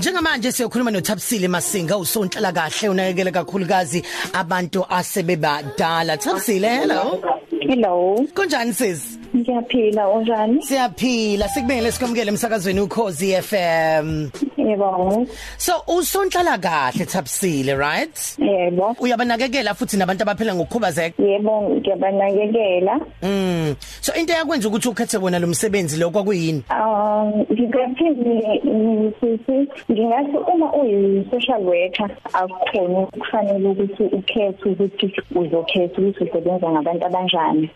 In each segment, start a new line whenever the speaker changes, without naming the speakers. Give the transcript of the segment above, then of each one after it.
Njengamanje siyokhuluma noThabisile Masinga usonhlala kahle unakekele kakhulukazi abantu asebebadala Thabisile hello
Hello,
kunjani sis
ngiyaphila unjani?
siyaphila sikubengele sikwamukele emsakazweni ukhozi FM
Yebo.
so usonhlala kahle Thabisile right
Yebo.
uyabanakekela futhi nabantu abaphila ngokukhubazeka
Yebo, ngiyabanakekela.
mm so into yakwenza ukuthi ukhethe wona lo msebenzi lo kwakuyini
Um, ngingaphinde ngisithi ngingathi uma uyi-social worker akukhona kufanele ukuthi ukhethe ukuthi uzokhetha ukuthi usebenza ngabantu abanjani.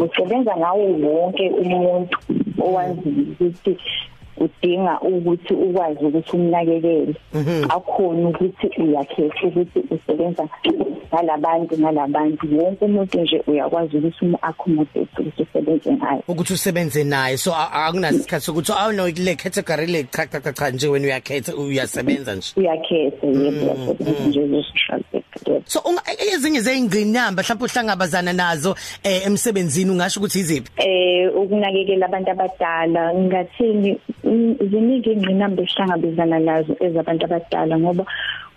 Usebenza ngawo wonke umuntu owaziyo ukuthi udinga ukuthi ukwazi ukuthi umnakekele akhona ukuthi uyakhetha ukuthi usebenza nalabantu nalabantu wonke umuntu nje uyakwazi ukuthi umu-accommodate ukuthi usebenze ngayo
ukuthi usebenze naye so a- akunasikhathi sokuthi awuno le category le cha cha cha, cha nje wena uyakhetha uyasebenza nje
uyakhetha yebo uyasebenza nje nge-social worker, yebo.
so unga- e- ezinye zeingqinamba mhlawumbe uhlangabazana nazo eh, emsebenzini ungasho ukuthi iziphi
eh ukunakekela abantu abadala ngingathini mm, ziningi ingqinamba esihlangabezana nazo ezabantu abadala ngoba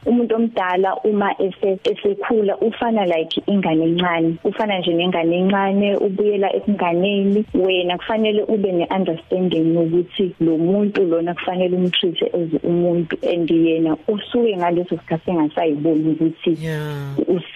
umuntu omdala uma ese- esekhula ufana like ingane encane ufana nje nengane encane ubuyela ekunganeni wena kufanele ube ne-understanding yokuthi lo muntu lona kufanele umtreat-e as umuntu and yena usuke ngaleso sikhathi engasayiboni ukuthi
yeah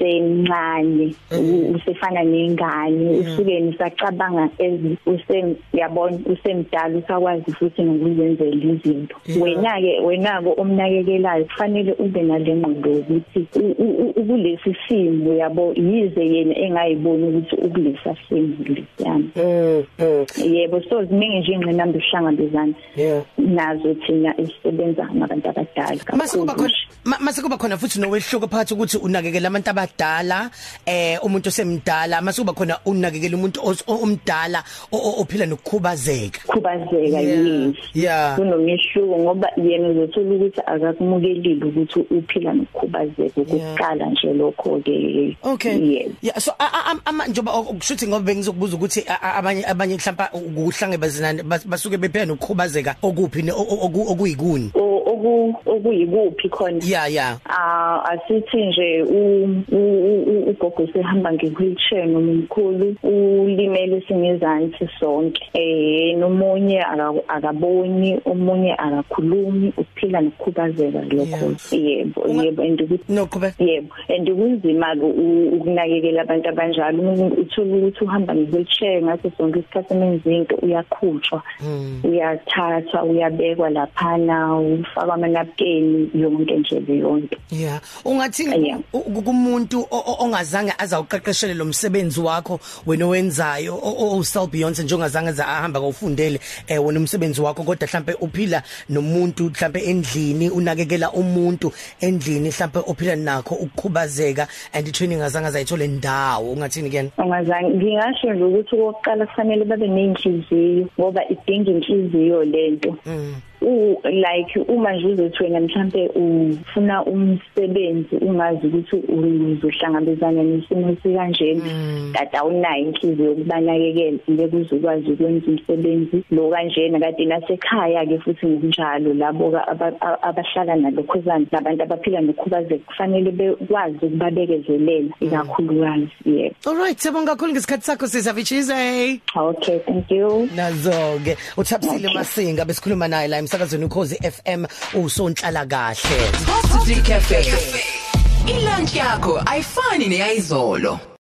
usemncane
Eh.
u- usefana nengane usuke nisacabanga ezi usem yabona usemdala usakwazi futhi nokuzenzela izinto
Yeah.
wena ke wenako omnakekelayo kufanele ube nalengqondo ukuthi u- u- u- ukulesi simo yabo yize yena engayiboni ukuthi ukulesa simo lesi yami
mm mm,
yebo so ziningi nje ingqinamba esihlangabezana
yeah
nazo thina esisebenza ngabantu abadala
masikuba
kakhulu
khona ma- masikuba khona futhi nowehluko phakathi ukuthi unakekela abantu abadala eh umuntu osemdala masikuba khona unakekela umuntu os- o- omdala o- o- ophila nokukhubazeka
khubazeka
Yeah.
yes
yeah
kunomehluko ngoba yena uzothola ukuthi akakumukelile ukuthi uphila nokukhubazeka ukuqala nje lokho ke
Okay.
yebo
Yeah, so a- a- am- ama njoba okushuthi ngoba bengizokubuza ukuthi a- a- abanye abanye mhlawumbe ukuhlangabezana bas- basuke bephela nokukhubazeka okuphi ne- o- o- oku- okuyikuni.
O- oku- okuyikuphi khona
Yeah, yeah.
ah asithi nje u- u- u- u- ugogo sehamba nge-wheelchair noma umkhulu ulimele singezansi sonke eh nomunye aka- akaboni omunye akakhulumi uphila nokukhubazeka lokho yebo yebo and ukuthi
Noqhubeka.
yebo and kunzima ke u- ukunakekela abantu abanjalo Umuntu uthola ukuthi uhamba nge-wheelchair ngaso sonke isikhathi emenza into uyakhutshwa uyathathwa uyabekwa laphana ufakwa amanapukeni yonke nje leyonto
Yeah. Ungathi
Yeah.
u- ku- kumuntu o- o- ongazange azawuqeqeshele lo msebenzi wakho wena owenzayo osel Beyonce njengazange za ahamba ngofundele eh wena umsebenzi wakho kodwa mhlawumbe uphila nomuntu mhlawumbe endlini unakekela umuntu endlini mhlawumbe ophila nakho ukukhubazeka and training azange azayithola indawo ungathini kuyena
ongazange ngingasho nje ukuthi okokuqala kufanele babe nenhliziyo ngoba idinga inhliziyo lento
Mm.
u like uma nje uzothi wena mhlambe ufuna umsebenzi ungazi ukuthi uzohlangabezana nesimo sikanjena kade awunayo inhliziyo yokubanakekela ngeke uzokwazi ukwenza umsebenzi lo kanjena kade nasekhaya-ke futhi ngokunjalo labo-ke aba- a- abahlala nalokhuzana nabantu abaphila nokhubazeka kufanele bekwazi ukubabekezelela ikakhulukazi yebo
All right, siyabonga kakhulu ngesikhathi sakho eh? sisavichize.
Okay, thank you.
Nazoke uThabisile Masinga besikhuluma naye la emsakazweni ukhozi FM usonhlala kahle.
Positive Cafe. Ilunch yakho ayifani neyizolo.